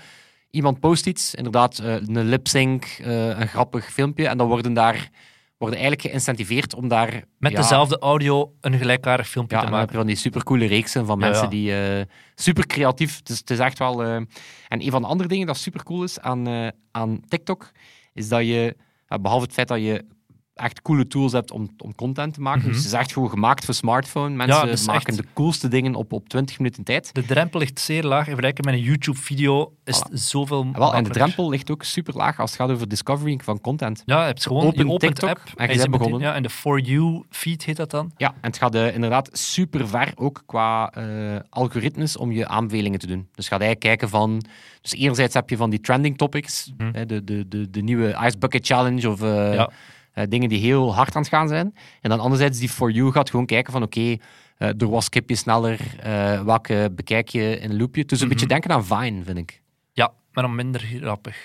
[SPEAKER 2] Iemand post iets, inderdaad eh, een lip-sync, eh, een grappig filmpje. En dan worden daar worden eigenlijk geïncentiveerd om daar...
[SPEAKER 3] Met
[SPEAKER 2] ja,
[SPEAKER 3] dezelfde audio een gelijkaardig filmpje
[SPEAKER 2] ja, en
[SPEAKER 3] te
[SPEAKER 2] dan heb je
[SPEAKER 3] maken.
[SPEAKER 2] van die supercoole reeksen van
[SPEAKER 3] Ja,
[SPEAKER 2] mensen
[SPEAKER 3] ja.
[SPEAKER 2] die eh, super creatief. Dus het is echt wel. eh, En een van de andere dingen dat super cool is aan, eh, aan TikTok, is dat je, eh, behalve het feit dat je echt coole tools hebt om, om content te maken.
[SPEAKER 3] Mhm.
[SPEAKER 2] Dus het is echt gewoon gemaakt voor smartphone. Mensen
[SPEAKER 3] dus
[SPEAKER 2] maken
[SPEAKER 3] echt-
[SPEAKER 2] de coolste dingen op, op 20 minuten tijd.
[SPEAKER 3] De drempel ligt zeer laag. In vergelijking met een YouTube-video is het zoveel
[SPEAKER 2] En wel, en de
[SPEAKER 3] makkelijker.
[SPEAKER 2] drempel ligt ook super laag als het gaat over discovery van content.
[SPEAKER 3] Ja, je hebt gewoon
[SPEAKER 2] Open
[SPEAKER 3] je opent de
[SPEAKER 2] TikTok
[SPEAKER 3] app
[SPEAKER 2] en je
[SPEAKER 3] en je
[SPEAKER 2] bent
[SPEAKER 3] zit meteen-
[SPEAKER 2] begonnen.
[SPEAKER 3] Ja, en de For You-feed heet dat dan.
[SPEAKER 2] Ja, en het gaat eh, inderdaad super ver ook qua eh, algoritmes om je aanbevelingen te doen. Dus ga jij kijken van. Dus enerzijds heb je van die trending topics,
[SPEAKER 3] Hm.
[SPEAKER 2] hè, de, de, de, de nieuwe Ice Bucket Challenge of eh,
[SPEAKER 3] Ja.
[SPEAKER 2] eh, dingen die heel hard aan het gaan zijn. En dan anderzijds die For You gaat gewoon kijken van oké, eh, door wat skip je sneller, eh, welke bekijk je in een loopje. Dus een
[SPEAKER 3] Mhm.
[SPEAKER 2] beetje denken aan Vine, vind ik.
[SPEAKER 3] Ja, maar dan minder grappig.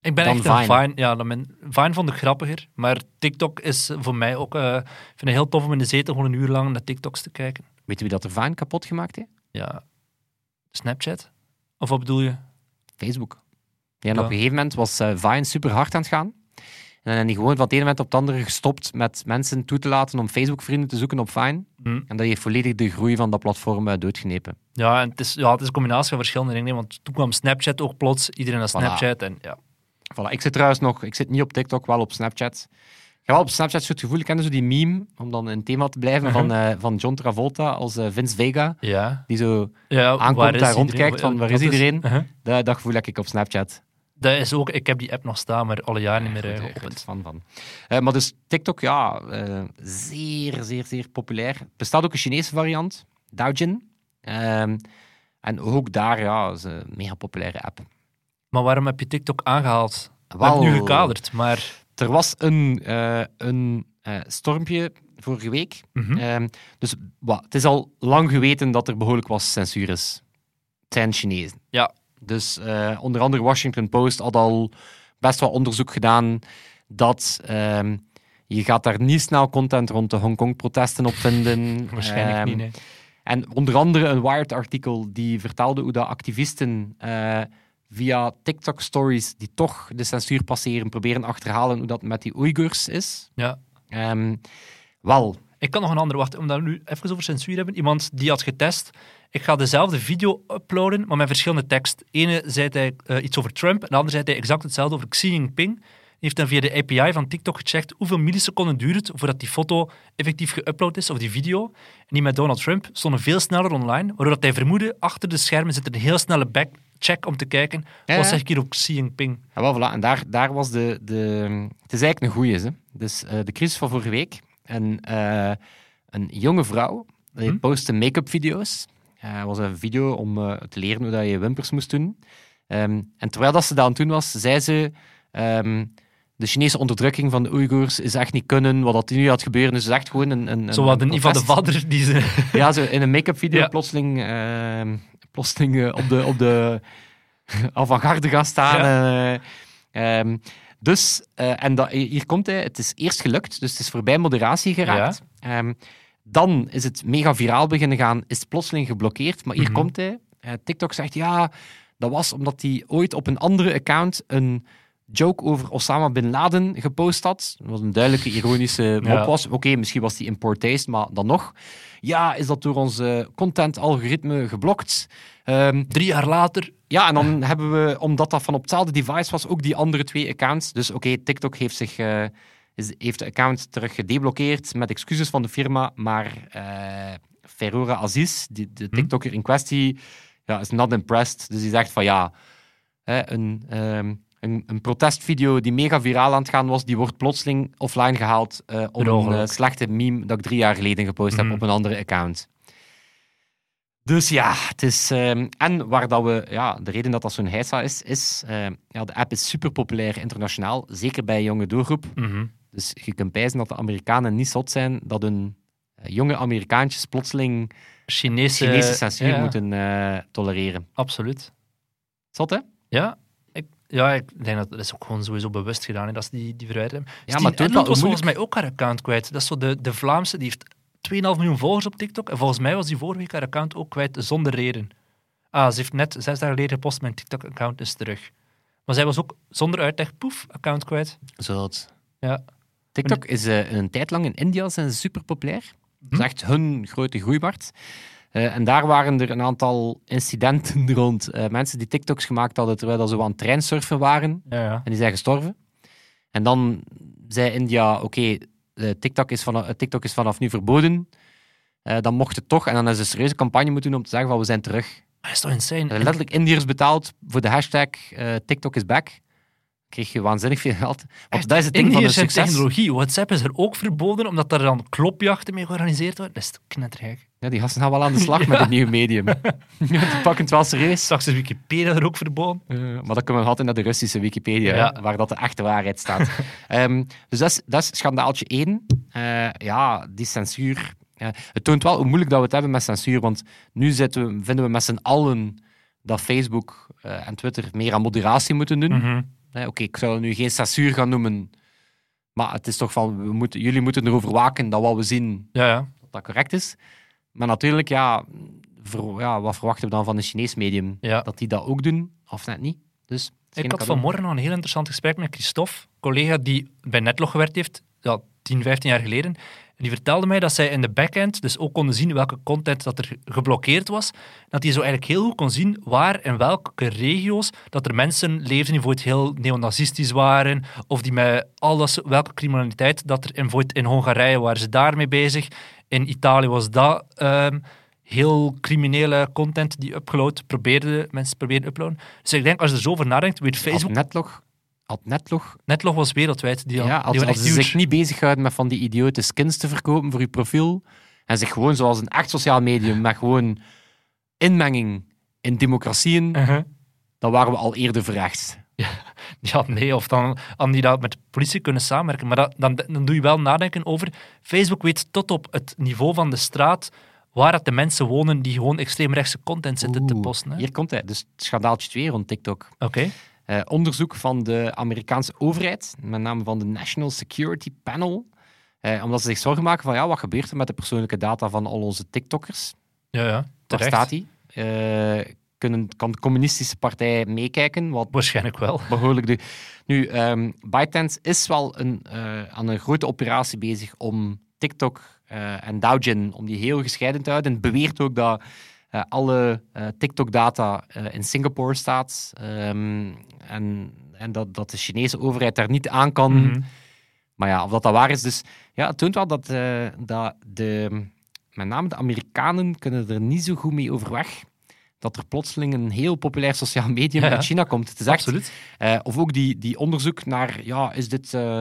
[SPEAKER 3] Ik ben
[SPEAKER 2] Dan
[SPEAKER 3] echt een
[SPEAKER 2] Vine.
[SPEAKER 3] Vine. ja, dan ben, Vine vond ik grappiger, maar TikTok is voor mij ook... eh, ik vind het heel tof om in de zetel gewoon een uur lang naar TikToks te kijken.
[SPEAKER 2] Weet je wie dat er Vine kapot gemaakt heeft?
[SPEAKER 3] Ja. Snapchat? Of wat bedoel je?
[SPEAKER 2] Facebook. Ja, en
[SPEAKER 3] Ja.
[SPEAKER 2] op een gegeven moment was eh, Vine super hard aan het gaan. En dan hebben die gewoon van het ene moment op het andere gestopt met mensen toe te laten om Facebook-vrienden te zoeken op Vine.
[SPEAKER 3] Hm.
[SPEAKER 2] En dat heeft volledig de groei van dat platform eh, doodgenepen.
[SPEAKER 3] Ja, en het is, ja, het is een combinatie van verschillende dingen. nee, Want toen kwam Snapchat ook plots. Iedereen naar
[SPEAKER 2] Voilà.
[SPEAKER 3] Snapchat. En ja,
[SPEAKER 2] Voilà. Ik zit trouwens nog, ik zit niet op TikTok, wel op Snapchat. Ik heb wel op Snapchat zo'n gevoel, ik ken dus zo die meme, om dan in het thema te blijven, van, eh, van John Travolta als eh, Vince Vega.
[SPEAKER 3] ja.
[SPEAKER 2] Die zo,
[SPEAKER 3] ja
[SPEAKER 2] Aankomt,
[SPEAKER 3] waar is
[SPEAKER 2] daar
[SPEAKER 3] iedereen?
[SPEAKER 2] rondkijkt van, waar is
[SPEAKER 3] Dat
[SPEAKER 2] iedereen?
[SPEAKER 3] Uh-huh.
[SPEAKER 2] dat, dat gevoel heb ik op Snapchat.
[SPEAKER 3] Dat is ook, ik heb die app nog staan, maar alle jaar niet meer eh,
[SPEAKER 2] Goed, eh, goed,
[SPEAKER 3] geopend.
[SPEAKER 2] fan van. Eh, maar dus TikTok, ja, eh, zeer, zeer, zeer populair. Er bestaat ook een Chinese variant, Douyin. Ehm, en ook daar, ja, is een mega populaire app.
[SPEAKER 3] Maar waarom heb je TikTok aangehaald? We
[SPEAKER 2] Wel,
[SPEAKER 3] hebben nu gekaderd, maar...
[SPEAKER 2] Er was een, eh, een eh, stormpje vorige week.
[SPEAKER 3] Mhm.
[SPEAKER 2] Ehm, dus wa, het is al lang geweten dat er behoorlijk wat censuur is. Het zijn Chinezen.
[SPEAKER 3] Ja.
[SPEAKER 2] Dus eh, onder andere Washington Post had al best wel onderzoek gedaan dat ehm, je gaat daar niet snel content rond de Hongkong-protesten op vinden.
[SPEAKER 3] (laughs) Waarschijnlijk
[SPEAKER 2] Ehm,
[SPEAKER 3] niet, nee.
[SPEAKER 2] En onder andere een Wired-artikel die vertelde hoe dat activisten eh, via TikTok-stories die toch de censuur passeren, proberen achterhalen hoe dat met die Oeigoers is.
[SPEAKER 3] Ja.
[SPEAKER 2] Ehm, wel,
[SPEAKER 3] Ik kan nog een andere wachten, omdat we nu even over censuur hebben. Iemand die had getest. Ik ga dezelfde video uploaden, maar met verschillende tekst. Ene zei hij eh, iets over Trump, en de andere zei hij exact hetzelfde over Xi Jinping. Die heeft dan via de API van TikTok gecheckt hoeveel milliseconden duurt het voordat die foto effectief geüpload is, of die video. En die met Donald Trump stonden veel sneller online, waardoor dat hij vermoedde, achter de schermen zit een heel snelle backcheck om te kijken,
[SPEAKER 2] Ja,
[SPEAKER 3] wat
[SPEAKER 2] ja.
[SPEAKER 3] zeg ik hier op Xi Jinping?
[SPEAKER 2] Ja, wel, voilà. En daar, daar was de, de... Het is eigenlijk een goeie, hè. Dus eh, de crisis van vorige week. En, eh, een jonge vrouw die
[SPEAKER 3] Hm?
[SPEAKER 2] postte make-up video's. Het was een video om eh, te leren hoe dat je wimpers moest doen. Ehm, en terwijl dat ze dat aan het doen was, zei ze... ehm, de Chinese onderdrukking van de Oeigoers is echt niet kunnen. Wat dat nu gaat gebeuren, dus het is echt gewoon een... een
[SPEAKER 3] Zo wat
[SPEAKER 2] een
[SPEAKER 3] een Ivan de
[SPEAKER 2] protest.
[SPEAKER 3] Vadder die ze... (laughs)
[SPEAKER 2] (laughs) Ja, zo in een make-up video
[SPEAKER 3] Ja.
[SPEAKER 2] plotseling, ehm, plotseling eh, op de, op de (laughs) avant-garde gaan staan. eh, ehm, dus, eh, en dat, hier komt hij, het is eerst gelukt, dus het is voorbij moderatie geraakt. Ehm, dan is het mega viraal beginnen gaan, is het plotseling geblokkeerd, maar hier
[SPEAKER 3] Mhm.
[SPEAKER 2] komt hij. Eh, TikTok zegt, ja, dat was omdat hij ooit op een andere account een joke over Osama Bin Laden gepost had. Wat een duidelijke ironische mop
[SPEAKER 3] Ja.
[SPEAKER 2] was. Oké, misschien was die in poor taste, maar dan nog. Ja, is dat door ons eh, content-algoritme geblokt? Ehm,
[SPEAKER 3] Drie jaar later,
[SPEAKER 2] ja, en dan hebben we, omdat dat van op hetzelfde device was, ook die andere twee accounts. Dus oké, TikTok heeft, zich, eh, is, heeft de account terug gedeblokkeerd met excuses van de firma, maar eh Ferora Aziz, die, de
[SPEAKER 3] Hm.
[SPEAKER 2] TikToker in kwestie, ja, is not impressed. Dus die zegt van ja, hè, een, ehm, een, een protestvideo die mega viraal aan het gaan was, die wordt plotseling offline gehaald eh om
[SPEAKER 3] Per
[SPEAKER 2] een
[SPEAKER 3] ongeluk.
[SPEAKER 2] eh, slechte meme dat ik drie jaar geleden gepost
[SPEAKER 3] Mhm.
[SPEAKER 2] heb op een andere account. Dus ja, het is. ehm, en waar dat we. Ja, de reden dat dat zo'n heisa is, is. ehm, ja, de app is super populair internationaal, zeker bij jonge doelgroep.
[SPEAKER 3] Mhm.
[SPEAKER 2] Dus je kunt pijzen dat de Amerikanen niet zot zijn dat hun eh, jonge Amerikaantjes plotseling
[SPEAKER 3] Chinese...
[SPEAKER 2] Chinese censuur
[SPEAKER 3] eh, ja,
[SPEAKER 2] moeten eh, tolereren.
[SPEAKER 3] Absoluut.
[SPEAKER 2] Zot, hè?
[SPEAKER 3] Ja, ik, ja, ik denk dat dat is ook gewoon sowieso bewust gedaan hè, dat ze die, die verwijderd hebben. Ja,
[SPEAKER 2] maar het doet wel
[SPEAKER 3] was
[SPEAKER 2] moeilijk.
[SPEAKER 3] volgens mij ook haar account kwijt. Dat is zo de, de Vlaamse, die heeft 2,5 miljoen volgers op TikTok. En volgens mij was die vorige week haar account ook kwijt zonder reden. Ah, ze heeft net zes dagen geleden gepost, mijn TikTok-account is terug. Maar zij was ook zonder uitleg, poef, account kwijt.
[SPEAKER 2] Zot.
[SPEAKER 3] Ja.
[SPEAKER 2] TikTok is eh, een tijd lang in India zijn ze super populair. Dat
[SPEAKER 3] Hm.
[SPEAKER 2] is echt hun grote groeibart. Eh, en daar waren er een aantal incidenten (laughs) rond. eh, mensen die TikToks gemaakt hadden terwijl dat ze aan het treinsurfen waren.
[SPEAKER 3] Ja, ja.
[SPEAKER 2] En die zijn gestorven. En dan zei India, oké, eh, TikTok, is vanaf, eh, TikTok is vanaf nu verboden. Eh, dan mocht het toch. En dan is een serieuze campagne moeten doen om te zeggen van we zijn terug.
[SPEAKER 3] Dat is toch insane?
[SPEAKER 2] Eh, letterlijk Indiërs betaald voor de hashtag eh, TikTok is back. Kreeg je waanzinnig veel geld. Want
[SPEAKER 3] Echt,
[SPEAKER 2] dat is het ding van
[SPEAKER 3] Indiërs
[SPEAKER 2] een
[SPEAKER 3] en
[SPEAKER 2] succes.
[SPEAKER 3] technologie. WhatsApp is er ook verboden, omdat daar dan klopjachten mee georganiseerd worden. Dat is toch knettergek.
[SPEAKER 2] Ja, die gasten gaan wel aan de slag met het nieuwe
[SPEAKER 3] (laughs)
[SPEAKER 2] medium. die pakken het wel serieus.
[SPEAKER 3] Straks is Wikipedia er ook verboden.
[SPEAKER 2] Eh, maar dat kunnen we altijd naar de Russische Wikipedia,
[SPEAKER 3] Ja.
[SPEAKER 2] hè, waar dat de echte waarheid
[SPEAKER 3] (laughs)
[SPEAKER 2] staat. Ehm, dus dat is, dat is schandaaltje één. Eh, ja, die censuur. eh, het toont wel hoe moeilijk dat we het hebben met censuur, want nu zitten we, vinden we met z'n allen dat Facebook eh, en Twitter meer aan moderatie moeten doen.
[SPEAKER 3] Mhm.
[SPEAKER 2] Hè, Oké, ik zou het nu geen censuur gaan noemen, maar het is toch van, we moeten, jullie moeten erover waken dat wat we zien,
[SPEAKER 3] Ja, ja.
[SPEAKER 2] dat dat correct is. Maar natuurlijk, ja, ver- ja wat verwachten we dan van een Chinees medium?
[SPEAKER 3] ja.
[SPEAKER 2] Dat die dat ook doen, of net niet. Dus het is geen
[SPEAKER 3] Ik had
[SPEAKER 2] cadeau.
[SPEAKER 3] vanmorgen nog een heel interessant gesprek met Christophe, een collega die bij Netlog gewerkt heeft, ja, 10, 15 jaar geleden. En die vertelde mij dat zij in de backend dus ook konden zien welke content dat er geblokkeerd was. Dat die zo eigenlijk heel goed kon zien waar en welke regio's dat er mensen leefden die bijvoorbeeld heel neonazistisch waren, of die met alles, welke criminaliteit dat er in, bijvoorbeeld in Hongarije waren ze daarmee bezig. In Italië was dat ehm, heel criminele content die upload probeerden, mensen probeerden uploaden. Dus ik denk, als je er zo over nadenkt, weet Facebook
[SPEAKER 2] Had netlog, had netlog
[SPEAKER 3] Netlog was wereldwijd. Die,
[SPEAKER 2] ja, als,
[SPEAKER 3] al- die
[SPEAKER 2] als
[SPEAKER 3] waren echt
[SPEAKER 2] ze zich
[SPEAKER 3] huge.
[SPEAKER 2] niet bezighouden met van die idiote skins te verkopen voor je profiel, en zich gewoon zoals een echt sociaal medium, met gewoon inmenging in democratieën,
[SPEAKER 3] Uh-huh.
[SPEAKER 2] dan waren we al eerder verrechts.
[SPEAKER 3] Ja, nee. Of dan hadden die dat met de politie kunnen samenwerken. Maar dat, dan, dan doe je wel nadenken over... Facebook weet tot op het niveau van de straat waar dat de mensen wonen die gewoon extreemrechtse content zitten te
[SPEAKER 2] Oeh,
[SPEAKER 3] posten. hè.
[SPEAKER 2] Hier komt hij, dus het schandaaltje 2 rond TikTok.
[SPEAKER 3] Oké.
[SPEAKER 2] Eh, onderzoek van de Amerikaanse overheid, met name van de National Security Panel, eh, omdat ze zich zorgen maken van ja, wat gebeurt er met de persoonlijke data van al onze TikTokkers?
[SPEAKER 3] Ja, ja.
[SPEAKER 2] Daar
[SPEAKER 3] Terecht.
[SPEAKER 2] staat hij. Eh, kunnen, kan de communistische partij meekijken? Wat
[SPEAKER 3] Waarschijnlijk wel.
[SPEAKER 2] behoorlijk de... Nu, ehm ByteDance is wel een, eh, aan een grote operatie bezig om TikTok eh, en Douyin om die heel gescheiden te houden. En beweert ook dat eh, alle eh, TikTok-data eh, in Singapore staat. Ehm, en en dat, dat de Chinese overheid daar niet aan kan.
[SPEAKER 3] Mhm.
[SPEAKER 2] Maar ja, of dat dat waar is, dus ja, het toont wel dat, eh, dat de, met name de Amerikanen kunnen er niet zo goed mee overweg. Dat er plotseling een heel populair sociaal medium
[SPEAKER 3] Ja, ja.
[SPEAKER 2] uit China komt. Het is echt,
[SPEAKER 3] Absoluut.
[SPEAKER 2] eh, of ook die, die onderzoek naar, ja, is dit, eh,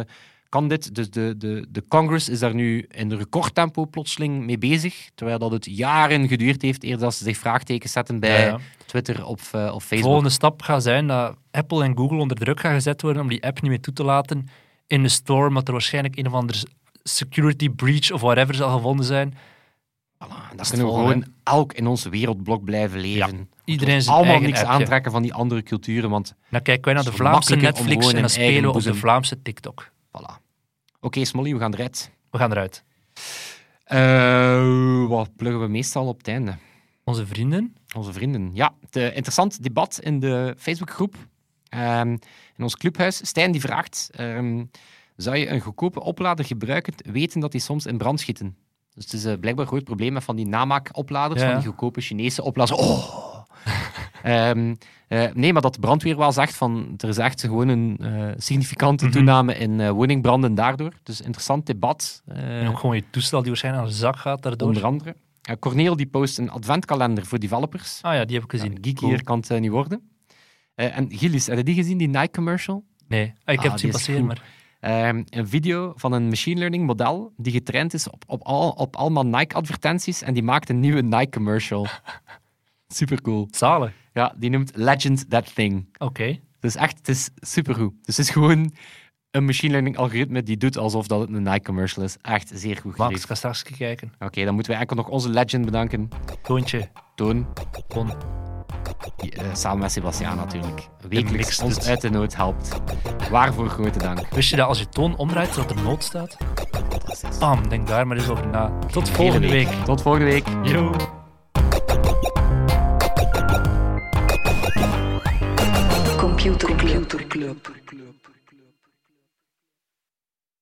[SPEAKER 2] kan dit? Dus de, de, de Congress is daar nu in recordtempo plotseling mee bezig. Terwijl dat het jaren geduurd heeft eer dat ze zich vraagtekens zetten bij
[SPEAKER 3] Ja, ja.
[SPEAKER 2] Twitter of, eh, of
[SPEAKER 3] De
[SPEAKER 2] Facebook.
[SPEAKER 3] volgende stap gaat zijn dat Apple en Google onder druk gaan gezet worden om die app niet meer toe te laten in de store, omdat er waarschijnlijk een of andere security breach of whatever zal gevonden zijn.
[SPEAKER 2] Voilà, en
[SPEAKER 3] is
[SPEAKER 2] Ah, dat kunnen we
[SPEAKER 3] het volgende.
[SPEAKER 2] gewoon elk in ons wereldblok blijven leven.
[SPEAKER 3] Iedereen zijn
[SPEAKER 2] allemaal
[SPEAKER 3] eigen
[SPEAKER 2] niks
[SPEAKER 3] appje.
[SPEAKER 2] aantrekken van die andere culturen, want
[SPEAKER 3] Dan kijken wij naar de
[SPEAKER 2] Het is
[SPEAKER 3] Vlaamse
[SPEAKER 2] makkelijker om
[SPEAKER 3] Netflix
[SPEAKER 2] gewoon
[SPEAKER 3] en dan
[SPEAKER 2] een eigen
[SPEAKER 3] spelen we op de
[SPEAKER 2] boezem-
[SPEAKER 3] Vlaamse TikTok.
[SPEAKER 2] voilà. Oké, Smolly, we gaan eruit.
[SPEAKER 3] We gaan eruit.
[SPEAKER 2] Eh, wat pluggen we meestal op het einde?
[SPEAKER 3] Onze vrienden.
[SPEAKER 2] Onze vrienden. Ja, het eh, interessant debat in de Facebookgroep. ehm, in ons clubhuis. Stijn die vraagt, ehm, zou je een goedkope oplader gebruiken, weten dat die soms in brand schieten? Dus het is eh, blijkbaar een groot probleem met van die namaakopladers,
[SPEAKER 3] Ja,
[SPEAKER 2] van
[SPEAKER 3] ja.
[SPEAKER 2] die goedkope Chinese opladers.
[SPEAKER 3] (laughs)
[SPEAKER 2] Oh! Ehm, eh, nee, maar dat de brandweer wel zegt van er is echt gewoon een eh, significante
[SPEAKER 3] Mhm.
[SPEAKER 2] toename in eh, woningbranden daardoor. Dus interessant debat. eh,
[SPEAKER 3] En ook gewoon je toestel die waarschijnlijk aan de zak gaat daardoor.
[SPEAKER 2] onder andere. Eh, Corneel die post een adventkalender voor developers.
[SPEAKER 3] Ah ja, die heb ik
[SPEAKER 2] Ja,
[SPEAKER 3] gezien.
[SPEAKER 2] geekier
[SPEAKER 3] Cool.
[SPEAKER 2] kan het eh, niet worden. Eh, en Gilles, heb je die gezien, die Nike-commercial?
[SPEAKER 3] Nee, Ah, ik
[SPEAKER 2] Ah,
[SPEAKER 3] heb het zien
[SPEAKER 2] die is
[SPEAKER 3] passeren,
[SPEAKER 2] goed.
[SPEAKER 3] maar...
[SPEAKER 2] Ehm, een video van een machine learning model die getraind is op, op, al, op allemaal Nike-advertenties en die maakt een nieuwe Nike-commercial. (laughs) Supercool.
[SPEAKER 3] Zalig.
[SPEAKER 2] Ja, die noemt Legend That Thing.
[SPEAKER 3] Oké.
[SPEAKER 2] Dus echt, het is supergoed. Dus het is gewoon een machine learning algoritme die doet alsof dat het een Nike-commercial is. Echt zeer goed
[SPEAKER 3] Max, ik
[SPEAKER 2] gedaan.
[SPEAKER 3] ga straks kijken.
[SPEAKER 2] Oké, dan moeten we enkel nog onze legend bedanken.
[SPEAKER 3] Toontje.
[SPEAKER 2] Toon,
[SPEAKER 3] Bon.
[SPEAKER 2] die, eh, samen met Sebastiaan natuurlijk.
[SPEAKER 3] mix
[SPEAKER 2] Wekelijks ons
[SPEAKER 3] doet.
[SPEAKER 2] uit de nood helpt. Waarvoor grote dank.
[SPEAKER 3] Wist je dat als je toon omdraait, dat er nood staat?
[SPEAKER 2] Fantastisch.
[SPEAKER 3] Bam, denk daar maar eens over na. Tot volgende
[SPEAKER 2] Hele
[SPEAKER 3] week.
[SPEAKER 2] Tot volgende week.
[SPEAKER 3] Yo.
[SPEAKER 1] Computer Club. Computer Club.